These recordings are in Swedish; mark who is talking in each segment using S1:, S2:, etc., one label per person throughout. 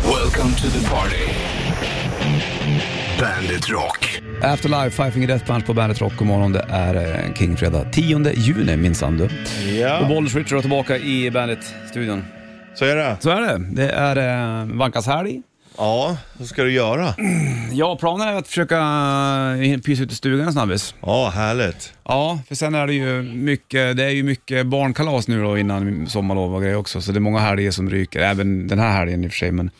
S1: Welcome to the party. Bandit Rock.
S2: Afterlife, Five Finger Death Punch på Bandet Rock. God morgon, det är eh, Kingfredag 10 juni minsann du. Och
S3: Ja,
S2: Bollers Richard är tillbaka i Bandet-studion.
S3: så är det.
S2: Så är det. Det är eh, Vankas helg.
S3: Ja, vad ska du göra?
S2: Ja, planen är att försöka eh, pysa ut i stugan en snabbis.
S3: Ja, härligt.
S2: Ja, för sen är det ju mycket, det är ju mycket barnkalas nu då innan sommarlov och grejer också. Så det är många helger som ryker, även den här helgen i och för sig. Men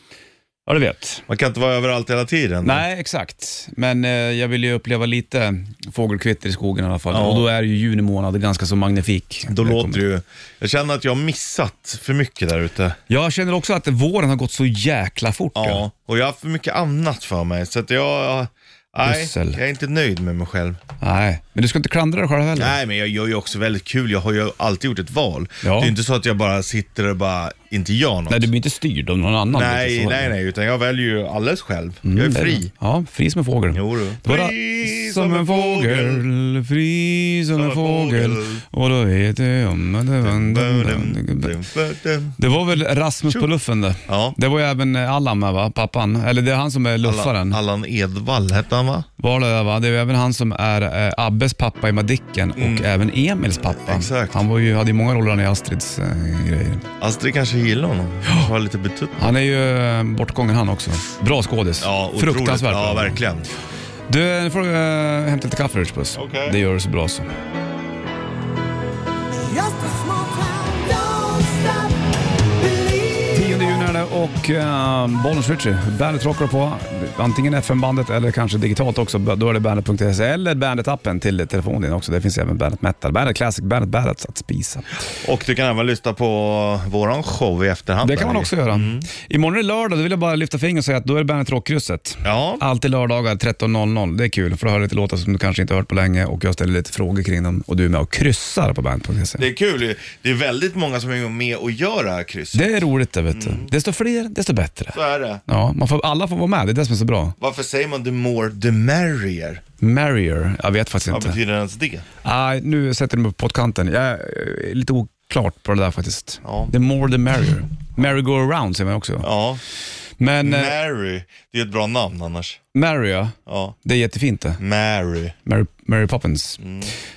S2: ja, du vet.
S3: Man kan inte vara överallt hela tiden.
S2: Nej, exakt. Men eh, jag vill ju uppleva lite fågelkvitter i skogen i alla fall.
S3: Ja.
S2: Och då är ju juni månad ganska så magnifik.
S3: Då låter det ju... Jag känner att jag har missat för mycket där ute.
S2: Jag känner också att våren har gått så jäkla fort.
S3: Ja.
S2: Ja.
S3: Och jag har haft för mycket annat för mig, så att jag... Nej,
S2: Pussel.
S3: jag är inte nöjd med mig själv.
S2: Nej, men du ska inte klandra dig själv heller.
S3: Nej, men jag gör ju också väldigt kul. Jag har ju alltid gjort ett val.
S2: Ja.
S3: Det är ju inte så att jag bara sitter och bara inte gör något.
S2: Nej, du blir inte styrd av någon annan.
S3: nej,
S2: lite så. Mm,
S3: nej, nej, utan jag väljer ju alldeles själv. jag är fri.
S2: Ja, fri som en fågel.
S3: Jo, du.
S2: Bara
S3: Fri
S2: som en fågel, fri som en fågel. Och då vet jag om att Mm, det var... Det var väl Rasmus på luffen det.
S3: Ja.
S2: Det var ju även Allan med va, pappan. Eller det är han som är luffaren.
S3: Allan, Allan Edwall hette han va?
S2: Var det där, va? Det är ju även han som är eh, Abbes pappa i Madicken och även Emils pappa.
S3: Mm. Exakt.
S2: Han var ju, hade ju många roller i Astrids eh, grejer.
S3: Astrid Alltså, kanske gillar honom. Han var lite betutt.
S2: Han är ju eh, bortgången han också. Bra skådis.
S3: otroligt.
S2: Fruktansvärt
S3: Ja,
S2: bra.
S3: verkligen.
S2: Du, nu får du eh, hämta lite kaffe Richbus.
S3: Okej.
S2: Det gör du så bra så.
S4: Just a small town, don't stop believing.
S2: 10 juni är det och uh, Bollnäs Ritchie. Bandet rockar på. Antingen FM-bandet eller kanske digitalt också. Då är det bandet.se eller bandet-appen till telefonen din också. Det finns även bandet metal, bandet classic, bandet bandet att spisa.
S3: Och du kan även lyssna på våran show i efterhand.
S2: Det kan man
S3: där.
S2: också göra. Imorgon är det lördag, då vill jag bara lyfta fingret och säga att då är det bandet rockkrysset.
S3: Ja,
S2: Alltid lördagar 13.00. Det är kul, för du hör lite låtar som du kanske inte har hört på länge och jag ställer lite frågor kring dem och du är med och kryssar på bandet.se.
S3: det är kul. Det är väldigt många som är med och gör det här krysset.
S2: Det är roligt det vet du.
S3: Mm.
S2: Desto fler, desto bättre.
S3: Så är det.
S2: Ja, man får, alla får vara med, det är det som är så bra.
S3: Varför säger man the more the merrier?
S2: Marrier, jag vet faktiskt
S3: Vad
S2: inte.
S3: betyder ens det?
S2: Nej, nu sätter du mig på pottkanten. Jag är eh, lite oklart på det där faktiskt.
S3: Ja.
S2: The more the merrier. Merry-go-around säger man också.
S3: Ja,
S2: Men eh,
S3: Mary. Det är ett bra namn annars.
S2: Mary, ja.
S3: Ja,
S2: Det är jättefint det.
S3: Mary.
S2: Mary, Mary Poppins.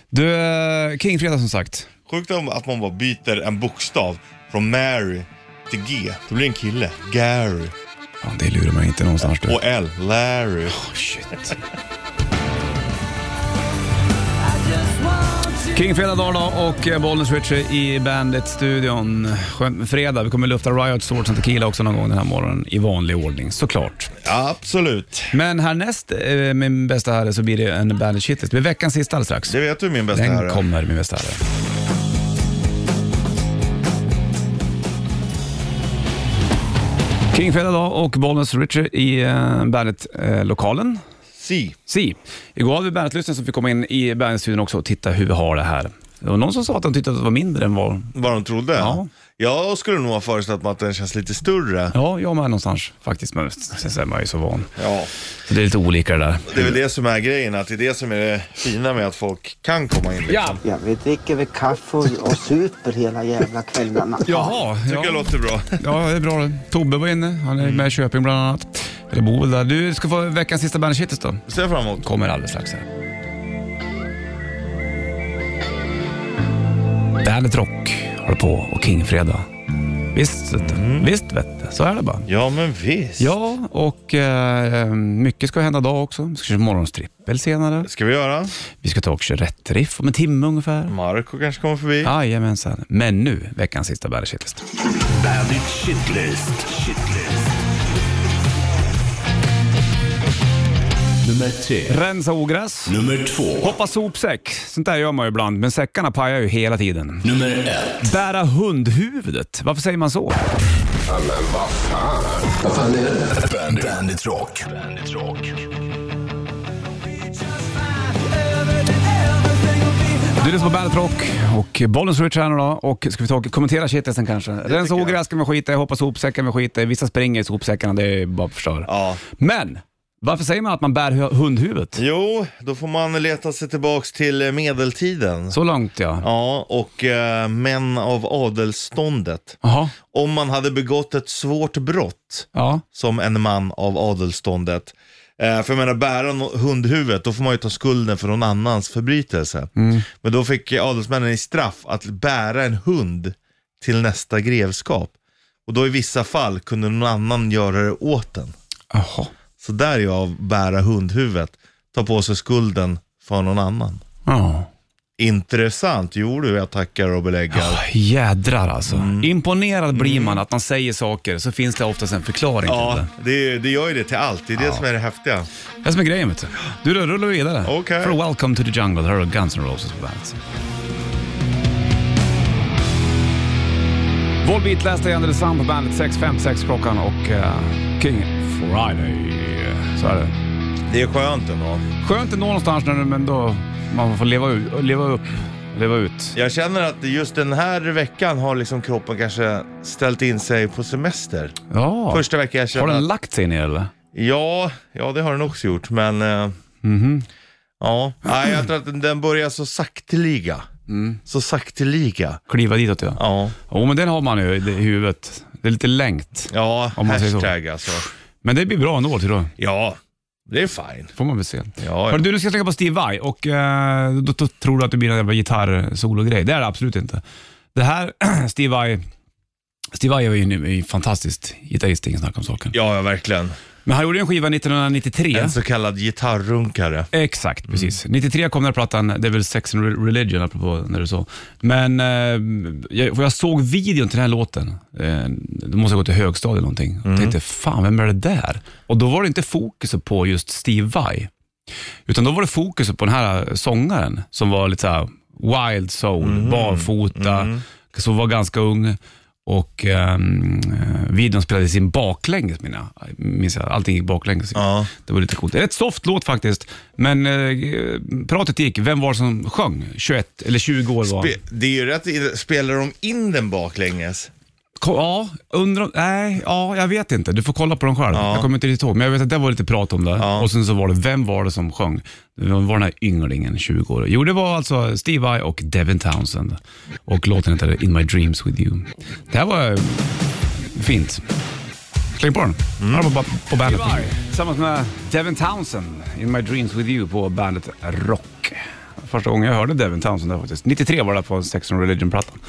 S2: Du, eh, King Fredag som sagt.
S3: Sjukt om att man bara byter en bokstav från Mary till G. Då blir det en kille. Gary.
S2: Ja, det lurar man inte någonstans du. Oh,
S3: Och L. Larry.
S2: shit.
S4: I just want you.
S2: King Fredag Dala och eh, Bollnäs Ritchie i Bandit-studion. Skönt med fredag. Vi kommer lufta Riot Swords and Tequila också någon gång den här morgonen i vanlig ordning, såklart.
S3: Absolut.
S2: Men härnäst, eh, min bästa herre, så blir det en Bandit shitlist. Det blir veckans sista alldeles strax.
S3: Det vet du min bästa
S2: Den
S3: herre.
S2: kommer, min bästa herre. King Fredag dag och Bollnäs Ritchie i eh, Bandit-lokalen.
S3: Si.
S2: Si. Igår hade vi Bandit-lyssnaren som fick komma in i Bandit-studion också och titta hur vi har det här. Det var någon som sa att de tyckte att det var mindre än vad...
S3: Vad de trodde?
S2: Ja.
S3: Jag skulle nog ha föreställt mig att den känns lite större.
S2: Ja, jag med någonstans faktiskt. Men sen så är man ju så van.
S3: Ja.
S2: Så det är lite olika det där.
S3: Det är väl det som är grejen, att det är det som är det fina med att folk kan komma in. Liksom.
S2: Ja,
S5: Ja, vi dricker väl kaffe och, och super hela jävla kvällarna.
S2: jaha.
S3: Tycker jag låter bra.
S2: Ja, det är bra det. Tobbe var inne. Han är med i Köping bland annat. Eller bor väl där. Du ska få veckans sista Bandit då.
S3: Ser jag fram emot.
S2: Kommer alldeles strax här. Bandet Rock håller på och Kingfredag. Visst, vet du. Visst vet du. Så är det bara.
S3: Ja, men visst.
S2: Ja, och eh, mycket ska hända idag också. Vi ska köra morgonstrippel senare.
S3: Ska vi göra?
S2: Vi ska ta och köra rätt riff om en timme ungefär.
S3: Marco kanske kommer förbi.
S2: Jajamensan. Men nu, veckans sista Bandit Shitlist.
S1: Bandit Shitlist. Shitlist. Nummer tre.
S2: Rensa ogräs.
S1: Nummer två.
S2: Hoppa sopsäck. Sånt där gör man ju ibland, men säckarna pajar ju hela tiden.
S1: Nummer ett.
S2: Bära hundhuvudet. Varför säger man så?
S1: Bandit, Bandit Rock. Bandit Rock.
S2: Du lyssnar på Bandet Rock och Bollens Rich här nu då. Och ska vi ta och kommentera shitlisten kanske? Rensa
S3: jag.
S2: ogräs kan vi skita i, hoppa sopsäckar kan vi skita i. Vissa springer i sopsäckarna, det är bara förstör.
S3: Ja.
S2: Men! Varför säger man att man bär hu- hundhuvudet?
S3: Jo, då får man leta sig tillbaks till eh, medeltiden.
S2: Så långt ja.
S3: Ja, och eh, män av adelsståndet.
S2: Jaha.
S3: Om man hade begått ett svårt brott
S2: Ja.
S3: som en man av adelsståndet. Eh, för jag menar, bära no- hundhuvudet, då får man ju ta skulden för någon annans förbrytelse. Men då fick eh, adelsmännen i straff att bära en hund till nästa grevskap. Och då i vissa fall kunde någon annan göra det åt den.
S2: Jaha.
S3: Så där är ju av bära hundhuvudet, ta på sig skulden för någon annan.
S2: Ja.
S3: Intressant, jo du jag tackar och beläggar.
S2: Jädrar alltså.
S3: Mm.
S2: Imponerad blir man att man säger saker, så finns det oftast en förklaring till
S3: Ja,
S2: det.
S3: det, det gör ju det till allt, det är det som är det häftiga.
S2: Det är som är grejen vet du. Du, då rullar vi vidare.
S3: Okej.
S2: För Welcome to the Jungle, här har du Guns N' Roses på bandet. Volbeat läste igen The Sun på bandet 6.56 klockan och eh, King Friday. Så är det.
S3: Det är skönt ändå.
S2: Skönt ändå någonstans när du, men då man får leva, u- leva upp, leva ut.
S3: Jag känner att just den här veckan har liksom kroppen kanske ställt in sig på semester.
S2: Ja.
S3: Första veckan jag
S2: har
S3: känner
S2: den
S3: att,
S2: lagt sig ner eller?
S3: ja, ja det har den också gjort, men eh,
S2: Mhm.
S3: ja. Nej, jag tror att den- den börjar så sakteliga.
S2: Mm.
S3: Så sakteliga.
S2: Kliva ditåt ja.
S3: Ja,
S2: Jo men den har man ju i huvudet. Det är lite längt.
S3: ja
S2: Om man säger så.
S3: hashtag alltså.
S2: Men det blir bra ändå till då.
S3: Ja, det är fine.
S2: Får man väl se.
S3: Ja, ja.
S2: Hörru, du, nu ska jag slänga på Steve Vai och eh, då, då tror du att det blir en jävla gitarrsologrej. Det är det absolut inte. Det här, Steve Vai, Steve Vai är ju en, en fantastisk gitarrist, ingen snack om saken.
S3: Ja, ja, verkligen.
S2: Men han gjorde ju en skiva 1993.
S3: En så kallad gitarrunkare. Mm.
S2: Exakt, precis. 93 kom den här plattan, det är väl Sex and Re- Religion, apropå när du sa. Men eh, jag, för jag såg videon till den här låten, eh, det måste ha gått till högstadiet eller någonting.
S3: Mm.
S2: Jag tänkte, fan vem är det där? Och då var det inte fokus på just Steve Vai, utan då var det fokus på den här eh, sångaren som var lite så här wild soul,
S3: Mm,
S2: barfota, som var ganska ung. Och ehm, eh, videon spelades in baklänges, mina. minns jag. Allting gick baklänges.
S3: Ja.
S2: Det var lite coolt. Rätt soft låt faktiskt, men eh, pratet gick. Vem var det som sjöng? 21 eller 20 år var han.
S3: Spe- Det är ju rätt, i- spelar de in den baklänges?
S2: Ko- Ja, undrar... Nej, ja, jag vet inte. Du får kolla på dem själv. Jag kommer inte riktigt ihåg, men jag vet att det var lite prat om det. Och sen så var det, vem var det som sjöng? Vem var den här ynglingen, 20 år? Jo, det var alltså Steve Vai och Devin Townsend. Och låten hette In My Dreams With You. Det här var eh, fint. Släng på den. Här på, ba- på bandet. Tillsammans med Devin Townsend, In My Dreams With You på bandet Rock. Första gången jag hörde Devin Townsend där faktiskt. 93 var det på Sex and Religion-plattan.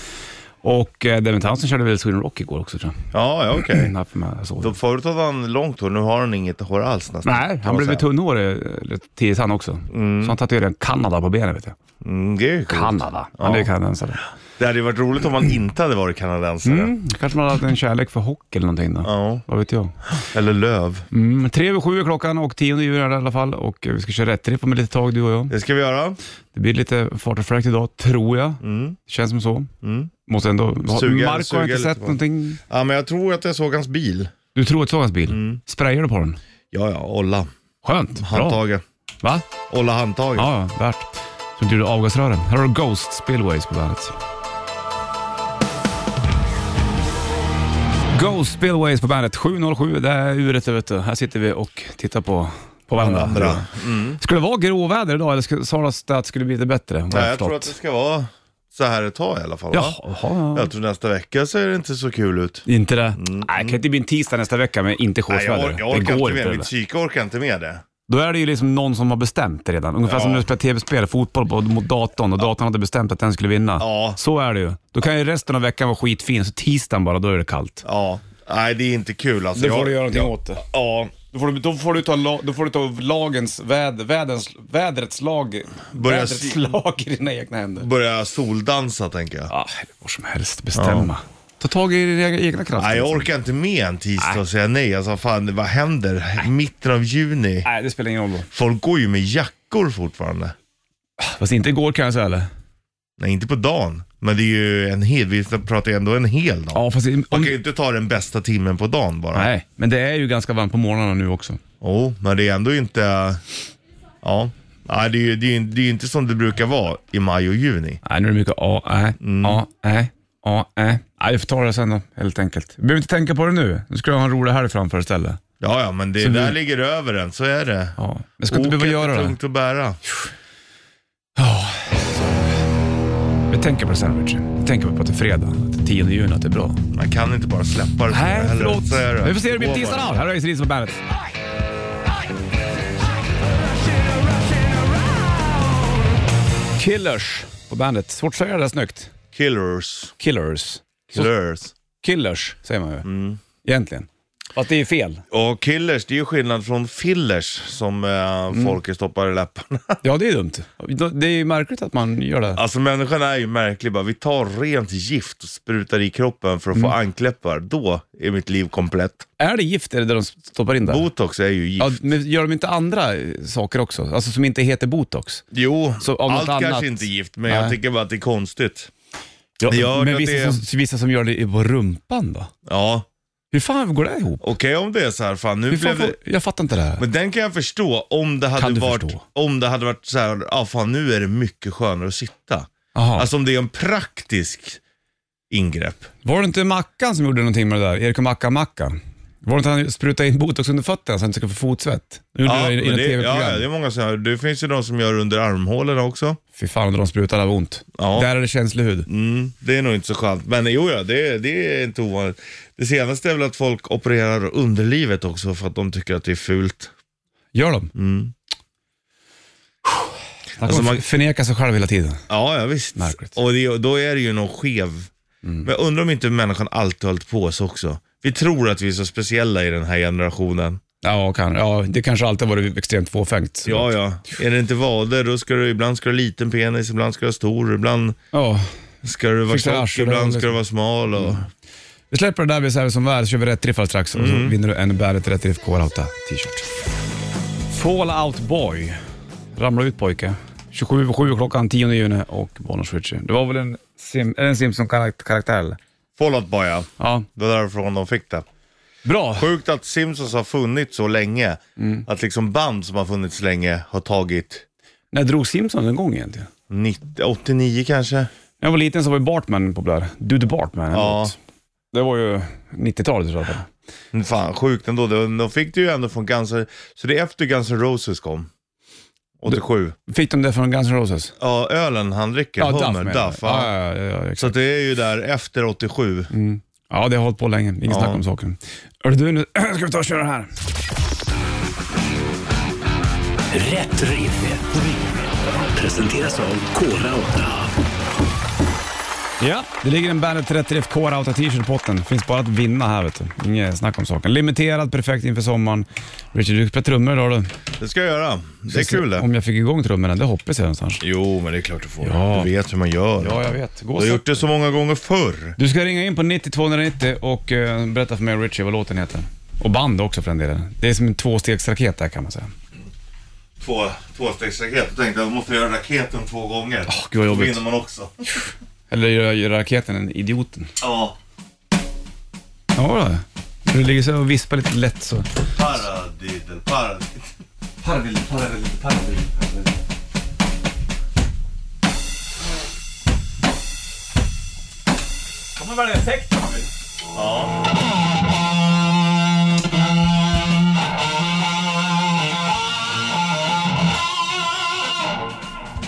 S2: Och eh, Devin Townsend körde väl Sweden Rock igår också tror jag.
S3: Ja, ja okej.
S2: Den här för mig, jag såg
S3: Då
S2: det.
S3: Förut hade han långt hår, nu har han inget hår alls nästan.
S2: Nej,
S3: kan
S2: han
S3: man
S2: blev
S3: säga.
S2: tunnhårig eh, tidigt han också. Så han tatuerade en Kanada på benet vet jag.
S3: Mm, det är ju coolt.
S2: Kanada. Han är ju kanadensare.
S3: Det hade ju varit roligt om han inte hade varit kanadensare.
S2: Mm. Kanske man hade haft en kärlek för hockey eller någonting då.
S3: Ja.
S2: Vad vet jag.
S3: Eller löv.
S2: Mm, tre över sju är klockan och tionde juli är det i alla fall. Och eh, vi ska köra rätt riff om ett litet tag du och jag.
S3: Det ska vi göra.
S2: Det blir lite fart och fräckt idag, tror jag. Känns som så. Måste ändå...
S3: Mm. Suga-
S2: Marco
S3: suga
S2: har inte
S3: lite
S2: sett
S3: på-
S2: någonting.
S3: Ja, men jag tror att jag såg hans bil.
S2: Du tror att det var hans bil?
S3: Mm.
S2: Sprayar du på den?
S3: Ja, ja, olla.
S2: Skönt. Bra.
S3: Handtaget.
S2: Va?
S3: Olla handtaget.
S2: Ja, ja, värt. Så inte du gjorde avgasrören. Här har du Ghost Spillways på bandet. Ghost Spillways på bandet. 7.07, det är uret vet du. Här sitter vi och tittar på, på varandra.
S3: Varandra. Mm.
S2: Skulle det vara gråväder idag eller skulle- sades det att det skulle bli lite bättre? Vad
S3: Nej, jag
S2: förstått.
S3: tror att det ska vara så här ett tag i alla fall.
S2: Jaha,
S3: va?
S2: ja.
S3: Jag tror nästa vecka ser det inte så kul ut.
S2: Inte det? Nej, det kan inte bli en tisdag nästa vecka med inte
S3: Mm. Nej, jag,
S2: shortsväder.
S3: or- jag
S2: Det
S3: orkar
S2: går
S3: inte
S2: inte.
S3: med.
S2: eller?
S3: Mitt psyke orkar inte med det.
S2: Då är det ju liksom någon som har bestämt det redan. Ungefär som
S3: Ja.
S2: när du spelar tv-spel, fotboll på, mot datorn och datorn hade bestämt att den skulle vinna.
S3: Ja.
S2: Så är det ju. Då kan ju resten av veckan vara skitfin, så tisdagen bara, då är det kallt.
S3: Ja. Nej, det är inte kul alltså. Jag- jag-
S2: åt det.
S3: Ja,
S2: Då får du, då får du, ta, la- då får du ta lagens, väd, vädens, vädrets lag,
S3: Börja
S2: vädrets
S3: si-
S2: lag i dina egna händer.
S3: börja soldansa tänker jag.
S2: Ja, eller vad som helst, bestämma. Ta tag i dina egna krafter.
S3: Nej, jag
S2: liksom.
S3: orkar inte med en tisdag och säga nej. Alltså fan, vad händer? Mitten av juni.
S2: Nej, det spelar ingen roll då.
S3: Folk går ju med jackor fortfarande.
S2: Fast inte igår kan jag säga eller?
S3: Nej, inte på dagen. Men det är ju en hel, vi pratar ju ändå en hel dag.
S2: Ja, fast... i-
S3: Man
S2: Om,
S3: kan ju inte ta den bästa timmen på dagen bara.
S2: Nej, men det är ju ganska varmt på morgnarna nu också.
S3: Jo, men det är ändå inte... Ja. Nej, det är ju det är, ju- det är ju inte som det brukar vara i maj och juni.
S2: Nej, nu är det mycket a ä a ä a ä Nej, vi får ta det sen då, helt enkelt. Vi behöver inte tänka på det nu. Nu ska jag ha en rolig helg framför istället.
S3: Ja, ja, men det
S2: Så
S3: där
S2: vi-
S3: ligger över en, så är det.
S2: Ja. Men ska inte behöva
S3: Oket är
S2: göra det.
S3: tungt att bära.
S2: Vi tänker på det sen Richie. Vi tänker på att det är fredag, att det är 10 juni, att det är bra.
S3: Man kan inte bara släppa det så
S2: Nej,
S3: heller,
S2: förlåt.
S3: så är
S2: Vi får se hur det blir på
S3: Gå
S2: tisdag
S3: bara.
S2: då. Här har Ace Rinsen på bandet. Killers på bandet. Svårt att säga det där snyggt.
S3: Killers.
S2: Killers.
S3: Killers.
S2: Killers säger man ju. Egentligen. Fast det är ju fel.
S3: Och killers, det är ju skillnad från fillers som eh,
S2: Mm.
S3: folk stoppar i läpparna.
S2: Ja, det är dumt. Det är ju märkligt att man gör det.
S3: Alltså människan är ju märklig bara. Vi tar rent gift och sprutar i kroppen för att
S2: Mm.
S3: få ankläppar. Då är mitt liv komplett.
S2: Är det gift är det det de stoppar in där?
S3: Botox är ju gift.
S2: Ja, men gör de inte andra eh, saker också? Alltså som inte heter botox?
S3: Jo,
S2: Så av något
S3: allt kanske
S2: annat-
S3: inte är gift, men
S2: Nej.
S3: jag tycker bara att det är konstigt.
S2: Ja,
S3: Det gör
S2: men
S3: att
S2: vissa,
S3: det är-
S2: som, vissa som gör det på rumpan då?
S3: Ja,
S2: Hur fan går det ihop?
S3: okej om det är så här, fan nu
S2: Hur fan
S3: blev det...
S2: får, jag fattar inte det här.
S3: Men den kan jag förstå om det
S2: Kan
S3: hade
S2: du
S3: varit,
S2: förstå?
S3: om det hade varit så här, ja ah, fan nu är det mycket skönare att sitta.
S2: Aha.
S3: Alltså om det är en praktisk ingrepp.
S2: var det inte Mackan som gjorde någonting med det där? Erik och Mackan Mackan? Var det inte han som sprutade in botox under fötterna så han inte skulle få fotsvett? Nu gjorde
S3: Ja,
S2: det i i
S3: men
S2: något
S3: det, ja,
S2: tv-program.
S3: ja, det är många som gör. Det finns ju de som gör under armhålorna också.
S2: Fy fan under de sprutarna var ont.
S3: Ja.
S2: Där är det känslig hud.
S3: Mm, det är nog inte så skönt. Men jo, ja, det, det är inte ovanligt. Det senaste är väl att folk opererar underlivet också för att de tycker att det är fult.
S2: Gör de? Mm.
S3: Alltså, man-
S2: man förnekar sig själv hela tiden.
S3: Ja, ja visst.
S2: Märkligt. Mm.
S3: Och det, då är det ju någon skev. Men jag undrar om inte människan alltid har hållit på så också. Vi tror att vi är så speciella i den här generationen.
S2: Ja, kan, ja, det kanske alltid har varit extremt fåfängt.
S3: Ja, ja. Är det inte vader, då ska du, ibland ska du ha liten penis, ibland ska du ha stor, ibland
S2: ja.
S3: ska du vara
S2: Fixa
S3: tjock,
S2: arslet,
S3: ibland
S2: liksom.
S3: ska du vara smal. Och...
S2: Vi släpper det där, vi säger som var, så kör vi rätt riffar strax och så vinner du en Bandet Rätt Riff K-Rauta t-shirt. Fallout Boy. Ramla ut pojke. 27.07 klockan 10 juni och Bonus Richie. Det var väl en, Sim, är det en Simpson-karaktär eller?
S3: Fallout Boy, ja.
S2: Ja.
S3: Det var därifrån de fick det.
S2: Bra.
S3: Sjukt att Simpsons har funnits så länge.
S2: Mm.
S3: Att liksom band som har funnits länge har tagit
S2: När drog Simpson en gång egentligen?
S3: 90, 89 kanske.
S2: När jag var liten så var ju Bartman populär. Du the Bartman. en
S3: Ja.
S2: låt. Det var ju 90-talet tror jag.
S3: Fan, sjukt ändå. De, de fick det ju ändå från Guns N' Så det är efter Guns N' Roses kom. 87.
S2: Fick de det från Guns N' Roses?
S3: Ja, ölen han dricker, Hummer,
S2: menar
S3: Duff.
S2: jag.
S3: ja.
S2: ja, Mm. ja, ja, ja, exakt.
S3: Så att det är ju där efter 87.
S2: Ja, det har hållit på länge. Inget
S3: Ja.
S2: snack om saken. Hörru du, nu ska vi ta och köra här.
S1: Rätt riff. Rätt riff. Presenteras av Kora 8.
S2: Ja, det ligger en Bandet 30 FK Rauta t-shirt i potten. Finns bara att vinna här vet du. Inget snack om saken. Limiterad, perfekt inför sommaren. Richard, du spelar trummor idag du.
S3: Det ska jag göra. Det är kul det.
S2: Om jag fick igång trummorna, det hoppas jag någonstans.
S3: Jo, men det är klart du får.
S2: Ja.
S3: Du vet hur man gör.
S2: Ja, jag vet. Gå
S3: Du har gjort det så många gånger förr.
S2: Du ska ringa in på 9290 och eh, berätta för mig och Richie vad låten heter. Och band också för den delen. Det är som en tvåstegsraket där kan man säga.
S3: Två, tvåstegsraket. Jag tänkte jag måste göra raketen två gånger.
S2: Åh, gud vad jobbigt.
S3: Då vinner man också.
S2: Eller gör gör raketen en idioten?
S3: Ja.
S2: Ja, då. Du ligger så här och vispar lite lätt så.
S3: Paradidel, paradidel.
S2: Parvel, parvel, parvel, parvel. Kan man välja effekt om man vill? Ja.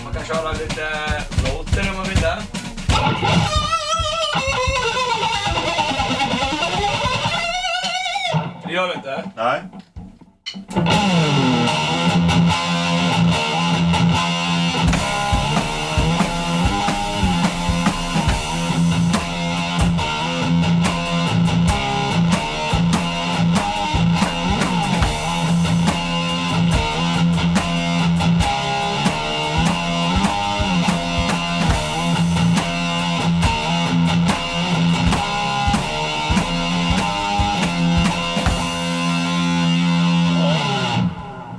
S2: Man kan köra lite floater om man vill där. Det gör vi inte.
S3: Nej.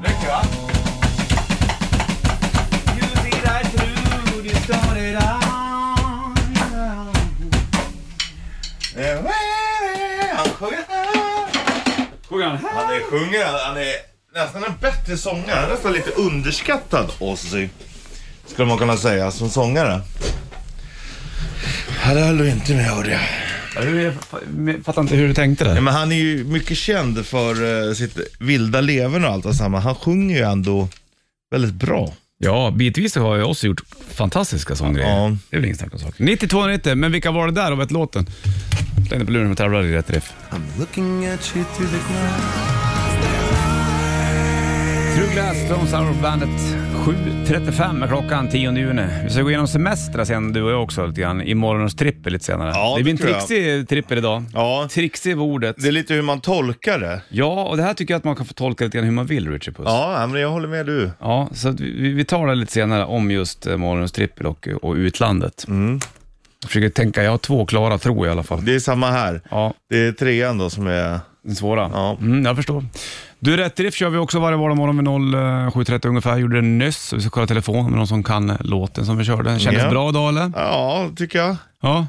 S2: Räcker va? You see that through, you started on.
S3: Han sjunger.
S2: Sjunger han här?
S3: Han är, sjunger, han- han är nästan en bättre sångare. Han är nästan lite underskattad Ozzy. Skulle man kunna säga som sångare. Ja, det höll du inte med hörde jag.
S2: Hur, jag fa- fattar inte hur du tänkte
S3: Nej,
S2: där.
S3: men han är ju mycket känd för eh, sitt vilda leverne och allt och samma. Han sjunger ju ändå väldigt bra.
S2: Ja, bitvis har jag också gjort fantastiska sånggrejer.
S3: Ja.
S2: Det är väl ingen snack om saken. 9290, men vilka var det där och vet låten? Slängde på luren och tävlade i rätt riff. True Glass, Stones Hour of Bandet. 7.35 är klockan 10 juni. Vi ska gå igenom semestrar sen du och jag också lite grann. I morgons trippel lite senare.
S3: Ja,
S2: det blir en
S3: det tror jag.
S2: trixig trippel idag.
S3: Ja.
S2: Trixig var ordet.
S3: Det är lite hur man tolkar det.
S2: Ja, och det här tycker jag att man kan få tolka lite grann hur man vill, Richard Puss.
S3: Ja, ja, men jag håller med du.
S2: Ja, så att vi, vi talar lite senare om just eh, morgonens trippel och, och utlandet.
S3: Mm.
S2: Jag försöker tänka, jag har två klara tro i alla fall.
S3: Det är samma här.
S2: Ja,
S3: Det är trean då som är...
S2: den svåra.
S3: Ja.
S2: Mm, jag förstår. Du, Rätt Riff kör vi också varje vardagsmorgon vid 07.30 ungefär. Gjorde det nyss. Vi ska kolla telefonen med någon som kan eh, låten som vi körde. Kändes
S3: Ja.
S2: bra idag eller?
S3: Ja, tycker jag.
S2: Ja.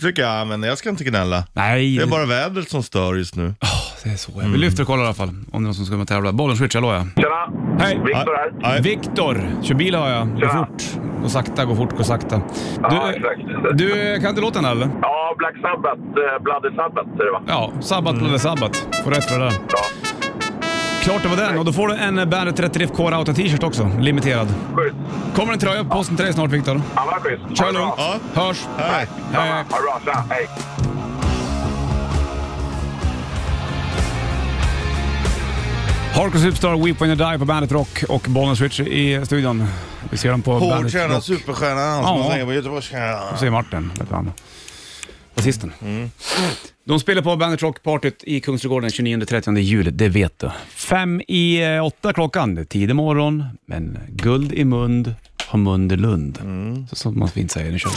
S3: Tycker jag, men jag ska inte gnälla.
S2: Nej,
S3: Det är bara Mm. vädret som stör just nu.
S2: det är så. ja. Vi lyfter och kollar i alla fall om det är någon som ska med och tävla. Bollen switch, hallå ja.
S6: Tjena!
S2: Hej!
S6: Viktor här.
S3: Aj.
S2: Viktor! Kör bil har jag. Gå
S6: Tjena.
S2: fort. Gå sakta, gå fort, gå sakta.
S6: Ja,
S2: Du,
S6: exakt.
S2: du kan inte låten eller?
S6: Ja, Black Sabbath, eh, Bloody Sabbath säger det va?
S2: Ja, sabbat
S3: Mm.
S2: blev det sabbat. Får rätt för det där.
S6: Ja.
S2: Klart det var den och då får du en Bandet 30 Riff Core Auto t-shirt också. Limiterad.
S6: Schysst.
S2: Kommer en tröja på posten till dig snart Viktor.
S6: Ja, vad schysst.
S2: Kör
S6: Ha det bra.
S2: lugnt.
S3: Ja.
S2: Hörs. Eh,
S3: Hej.
S2: Hej.
S6: Ha det bra. Tja, hej.
S2: Hardcore Superstar, Weep When You Die på Bandet Rock och Bollnäs Switch i studion. Vi ser dem på Bandet
S3: Hårdtjänad
S2: Rock.
S3: superstjärna han
S2: Ja.
S3: som man säger på Göteborgskan.
S2: Säger Martin, heter han. Basisten. De spelar på Bandet Rock-partyt i Kungsträdgården 29-30 juli, det vet du. Fem i eh, åtta klockan, det är tidig morgon, men guld i mund har mund i lund. Så som man fint säger, nu kör vi.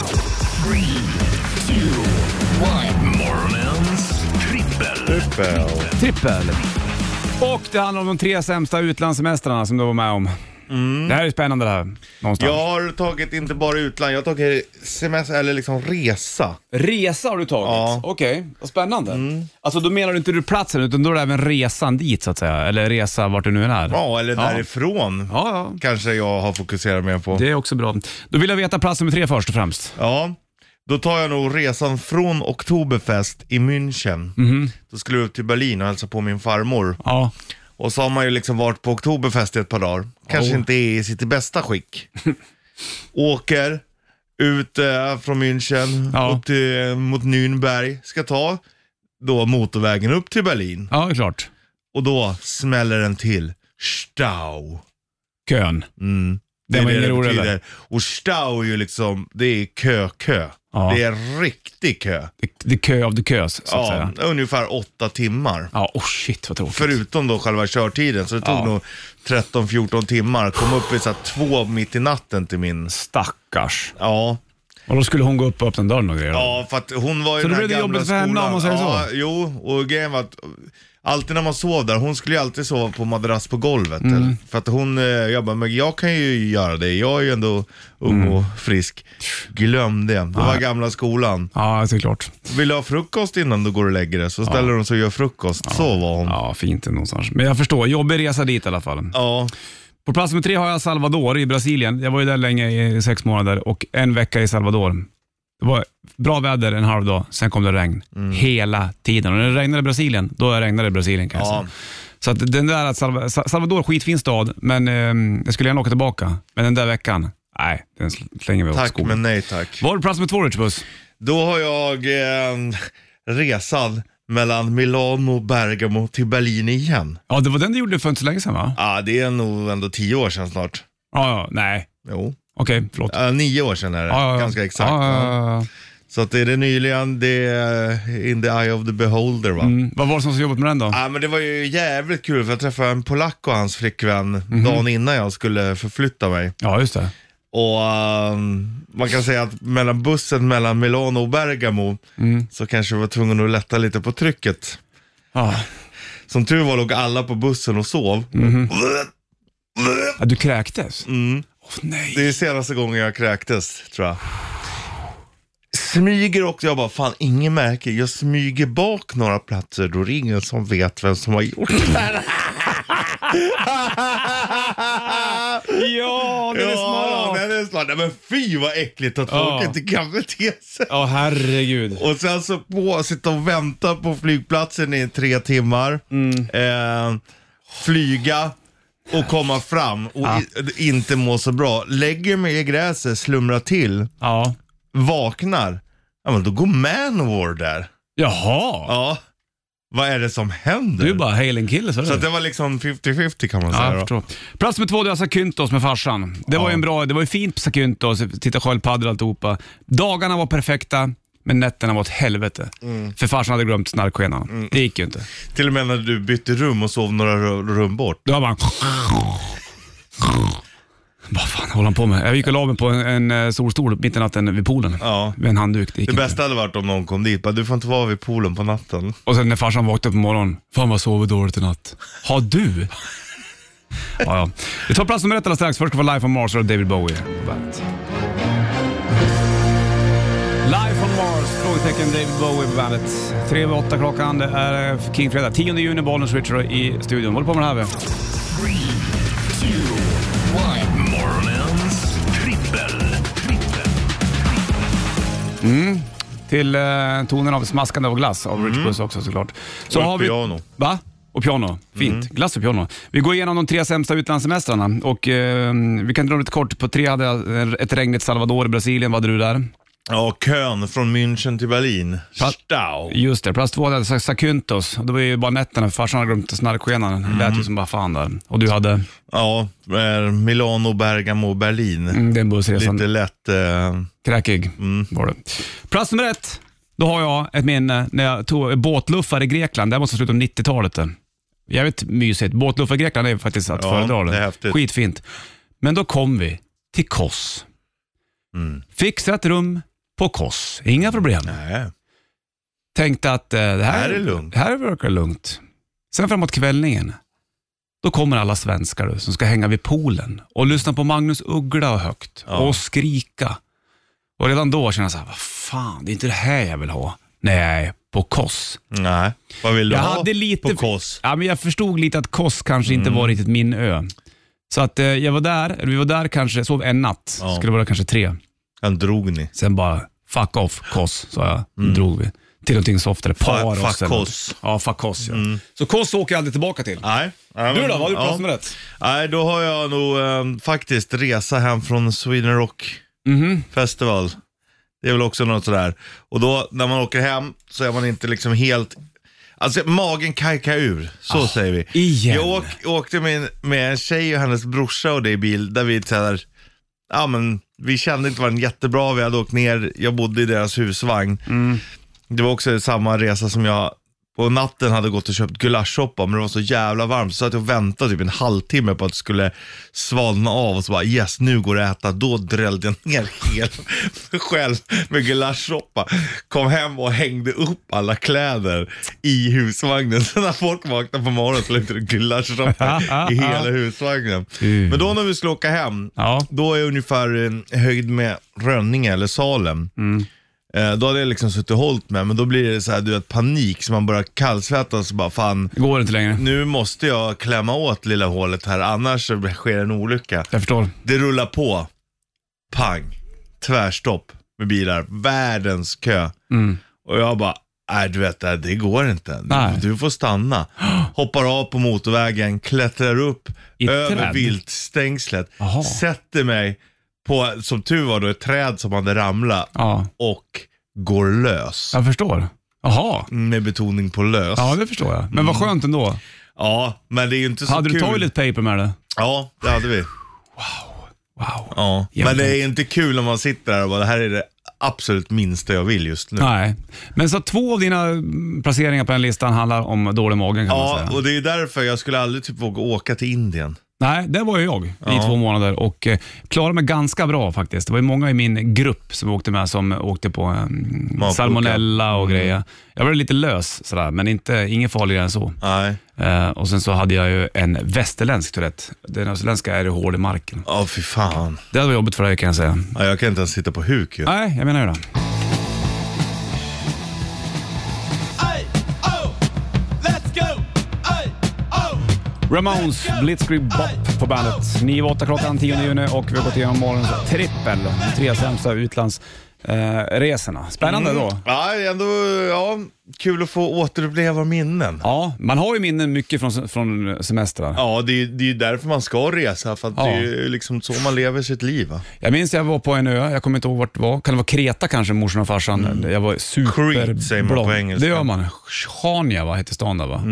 S1: Morgonens trippel.
S3: Trippel.
S2: Trippel! Och det handlar om de tre sämsta utlandssemestrarna som du var med om. Det här är spännande det här, någonstans.
S3: Jag har tagit inte bara utland, jag har tagit semester, eller liksom resa.
S2: Resa har du tagit?
S3: Ja. Mm.
S2: Okej, vad spännande. Alltså då menar du inte du platsen, utan då är det även resan dit så att säga, eller resa vart du nu än är.
S3: Ja, eller därifrån.
S2: Ja, ja.
S3: Kanske jag har fokuserat mer på.
S2: Det är också bra. Då vill jag veta plats nummer tre först och främst.
S3: Ja, då tar jag nog resan från Oktoberfest i München.
S2: Mhm.
S3: Då skulle jag upp till Berlin och hälsa på min farmor.
S2: Ja.
S3: Och så har man ju liksom varit på Oktoberfest i ett par dagar. Kanske
S2: Oh.
S3: inte är i sitt bästa skick. Åker ut eh, från München
S2: Ja.
S3: upp till, eh, mot Nürnberg. Ska ta då motorvägen upp till Berlin.
S2: Ja, det är klart.
S3: Och då smäller den till. Stau.
S2: Kön.
S3: Mm.
S2: Det var ingen rolig,
S3: betyder.
S2: eller?
S3: Och stau är ju liksom, det är kö-kö.
S2: Ja.
S3: Det är riktig kö.
S2: Det, det är kö av the kös, så att
S3: Ja,
S2: säga.
S3: ungefär åtta timmar.
S2: Ja, oh shit vad tråkigt.
S3: Förutom då själva körtiden, så det tog
S2: Ja.
S3: nog 13-14 timmar. Kom upp vid så här två mitt i natten till min...
S2: Stackars.
S3: Ja,
S2: Och då skulle hon gå upp och öppna dörren och grejer? då?
S3: ja för att hon var ju
S2: Så
S3: den
S2: då
S3: här
S2: blev det
S3: gamla
S2: jobbigt för henne,
S3: skolan.
S2: om man säger
S3: ja,
S2: så?
S3: Jo, och grejen var att alltid när man sov där, hon skulle ju alltid sova på madrass på golvet.
S2: Mm.
S3: Eller, för att hon, eh, jag bara, men jag kan ju göra det. Jag är ju ändå ung
S2: Mm.
S3: och frisk. Glöm det. Det var gamla skolan.
S2: Ja, det är klart.
S3: Vill du ha frukost innan du går och lägger dig? Så ställer hon sig och gör frukost. Så var hon.
S2: Ja, fint någonstans. Men jag förstår, jobbig resa dit i alla fall.
S3: Ja,
S2: På plats nummer tre har jag Salvador i Brasilien. Jag var ju där länge i sex månader och en vecka i Salvador. Det var bra väder en halv dag, sen kom det regn.
S3: Mm.
S2: Hela tiden. Och när det regnade i Brasilien, då regnade det i Brasilien kan jag
S3: Ja.
S2: säga. Så att den där att Salva- Sa- Salvador, skitfin stad, men eh, jag skulle gärna åka tillbaka. Men den där veckan, nej, den sl- slänger vi åt
S3: tack
S2: skogen.
S3: men nej tack.
S2: Var det plats nummer två, Rich Buss?
S3: Då har jag eh, resan mellan Milano, Bergamo till Berlin igen.
S2: Ja, det var den du gjorde för inte så länge sedan va?
S3: Ja, det är nog ändå tio år sedan snart.
S2: Ja, ja nej.
S3: Jo,
S2: Okej, förlåt.
S3: Ja, nio år sedan är det.
S2: Ja, ja, ja.
S3: Ganska exakt.
S2: Ja, ja,
S3: Ja.
S2: ja, ja.
S3: Så att det är det nyligen, det är in the eye of the beholder va.
S2: Mm. Vad var det som så jobbigt med den då?
S3: Ja men det var ju jävligt kul för jag träffade en polack och hans flickvän
S2: Mhm.
S3: dagen innan jag skulle förflytta mig.
S2: Ja, just det.
S3: Och ehm, man kan säga att mellan bussen mellan Milano och Bergamo
S2: Mm.
S3: så kanske jag var tvungen att lätta lite på trycket.
S2: Ah.
S3: Som tur var låg alla på bussen och sov.
S2: Ja, du kräktes?
S3: Mm.
S2: Åh, nej.
S3: Det är senaste gången jag kräktes, tror jag. Smyger också, jag bara, fan ingen märker. Jag smyger bak några platser, då är det ingen som vet vem som har gjort det här.
S2: Ja, den är
S3: Ja,
S2: smart.
S3: den är smart. bara, nej men fy vad äckligt att
S2: Ja.
S3: folk inte kan bete sig.
S2: Ja, herregud.
S3: Och sen så på, sitta och vänta på flygplatsen i tre timmar.
S2: Mm.
S3: Eh, flyga och komma fram och i, inte må så bra. Lägger mig i gräset, slumrar till,
S2: Ja.
S3: vaknar. Ja men då går Manowar där.
S2: Jaha.
S3: Ja. Vad är det som händer?
S2: Du är bara hailing kille, så,
S3: Så att det var liksom 50-50 kan man
S2: Ja,
S3: säga
S2: jag
S3: då.
S2: förstår. Plats nummer två, det var Zakynthos med farsan. Det var ju en bra, det var ju fint på Zakynthos, titta sköldpaddor och alltihopa. Dagarna var perfekta, men nätterna var åt helvete.
S3: Mm.
S2: För farsan hade glömt snarkskenan. Det gick ju inte.
S3: Till och med när du bytte rum och sov några ru- rum bort.
S2: Då var man... Vad fan håller han på med? Jag gick och la mig på en, en eh, solstol mitt i natten vid poolen.
S3: Ja.
S2: Med en handduk. Det gick
S3: Det
S2: inte.
S3: bästa hade varit om någon kom dit bara, du får inte vara vid poolen på natten.
S2: Och sen när farsan vaknade på morgonen, fan vad jag sover dåligt i natt. Har du? ja, ja. Vi tar plats nummer ett alldeles strax. Först ska vi få Life on Mars och David Bowie på bandet. Life on Mars, frågetecken David Bowie på bandet. Tre över åtta klockan, det är eh, King-fredag. 10 juni, Bollnäs Richard i studion. Håller på med det här vi.
S1: Morgonens trippel. trippel.
S2: Till eh, tonen av smaskande av glass av Rich Puss också såklart. Så
S3: Mm. Och ett piano. Mm.
S2: Va? Och piano. Fint. Glass och piano. Vi går igenom de tre sämsta utlandssemestrarna och eh, vi kan dra lite kort. På tre hade jag eh, ett regnigt Salvador i Brasilien. Vad hade du där?
S3: Ja, kön från München till Berlin. Stau.
S2: Just det. Plats två hade jag Sa- Sakyntos. Det var ju bara nätterna för farsan hade glömt snarkskenan.
S3: Mm.
S2: Det lät ju som bara fan där. Och du hade?
S3: Ja, eh, Milano, Bergamo, Berlin.
S2: Mm, den bussresan.
S3: Lite lätt. Eh,
S2: Kräkig var det. Plats nummer ett. Då har jag ett minne när jag tog båtluffar i Grekland. Det här måste ha slutat om 90-talet. det. eh. Jävligt mysigt. Båtluffar i Grekland är faktiskt att
S3: Ja,
S2: föredra.
S3: det är häftigt.
S2: Skitfint. Men då kom vi till Kos.
S3: Mm.
S2: Fixat rum på Kos. Inga problem.
S3: nej.
S2: Tänkte att eh, det här,
S3: Här är lugnt.
S2: det här verkar lugnt. Sen framåt kvällningen, då kommer alla svenskar du, som ska hänga vid poolen och lyssna på Magnus Uggla högt
S3: Ja.
S2: och skrika. Och redan då känner jag så här, vad fan, det är inte det här jag vill ha. Nej, på Koss.
S3: nej. Vad vill du
S2: Jag
S3: ha
S2: hade lite...
S3: på Kos? Mm.
S2: Ja, men jag förstod lite att Koss kanske inte var riktigt min ö. Så att eh, jag var där, eller vi var där kanske, sov en natt,
S3: Ja.
S2: skulle vara kanske tre.
S3: Han drog ni.
S2: Sen bara, fuck off Koss, sa jag. Drog vi. Till någonting softare. Paros.
S3: Mm. fuck
S2: eller-
S3: Kos.
S2: Ja, fuck Koss. Ja. Så Koss åker jag aldrig tillbaka till.
S3: Nej. nej,
S2: Du
S3: men-
S2: då, vad har du
S3: ja.
S2: pratat med rätt?
S3: Nej, då har jag nog eh, faktiskt resa hem från Sweden Rock Festival. Det är väl också något sådär. Och då när man åker hem så är man inte liksom helt, alltså magen kajkar ur. Så säger vi.
S2: igen.
S3: Jag åk, åkte med, en- med en tjej och hennes brorsa och det i bil där vi såhär, ja men vi kände inte varandra jättebra. Vi hade åkt ner, jag bodde i deras husvagn. Det var också samma resa som jag på natten hade gått och köpt gulaschsoppa men det var så jävla varmt så att jag väntade typ en halvtimme på att det skulle svalna av och så bara yes nu går det att äta. Då drällde jag ner helt själv med gulaschsoppa. Kom hem och hängde upp alla kläder i husvagnen. Så när folk vaknade på morgonen så luktade det gulaschsoppa i hela husvagnen.
S2: Mm.
S3: Men då när vi skulle åka hem,
S2: Ja.
S3: då är jag ungefär eh, höjd med Rönninge eller Salem. Eh, Då hade jag liksom suttit och hållit med, men då blir det så här, du vet, panik så man börjar kallsvettas och bara fan,
S2: Det går inte längre.
S3: nu måste jag klämma åt lilla hålet här annars så sker en olycka.
S2: Jag förstår.
S3: Det rullar på. Pang. Tvärstopp med bilar. Världens kö. Och jag bara, nej du vet det, det går inte.
S2: Mm. Nej.
S3: Du, du får stanna. Hoppar av på motorvägen, klättrar upp
S2: I
S3: över
S2: träd?
S3: viltstängslet.
S2: Jaha.
S3: Sätter mig på, som tur var då, ett träd som hade ramlat
S2: Ja,
S3: och går lös.
S2: jag förstår. Jaha.
S3: Med betoning på lös.
S2: Ja,
S3: Ja,
S2: det förstår jag. Men vad skönt ändå.
S3: men det är ju inte Mm. så
S2: Hade
S3: kul.
S2: du toilet paper med dig?
S3: Ja, det hade vi.
S2: Wow.
S3: Ja. Men
S2: Jämnt.
S3: det är inte kul om man sitter där och bara, det här är det absolut minsta jag vill just nu.
S2: Nej. Men så två av dina mm, placeringar på den listan handlar om dålig magen kan man
S3: Ja,
S2: säga.
S3: och det är därför jag skulle aldrig typ våga åka till Indien.
S2: Nej, där var ju jag i två månader och eh, klarade mig ganska bra faktiskt. Det var ju många i min grupp som åkte med som åkte på eh, salmonella och grejer. Jag var lite lös sådär, men inte, ingen farligare än så.
S3: Nej.
S2: Eh, och sen så hade jag ju en västerländsk Tourette. Den österländska är ju hård i marken.
S3: Ja, fy fan.
S2: Det var jobbigt för dig kan jag säga.
S3: Ja, jag kan inte ens sitta på huk ju.
S2: Nej, jag menar ju det. Ramones, Blitzkrieg Bop på bandet. 9-8 klockan 10 juni och vi har gått igenom morgonens trippel. De tre sämsta utlandsresorna. Eh, resorna. Spännande då.
S3: Ja, det är ändå ja, kul att få återuppleva minnen. Ja,
S2: Ja, man har ju minnen mycket från, från semestrar.
S3: det, är, ju- det är ju därför man ska resa, för att
S2: Ja.
S3: det är ju liksom så man lever sitt liv. Va?
S2: Jag minns jag var på en ö, jag kommer inte ihåg vart det var. Kan det vara Kreta kanske, morsan och farsan? Jag var superblond.
S3: Crete Mm. säger man på engelska. Mm.
S2: Det gör man. Chania va, hette stan där va?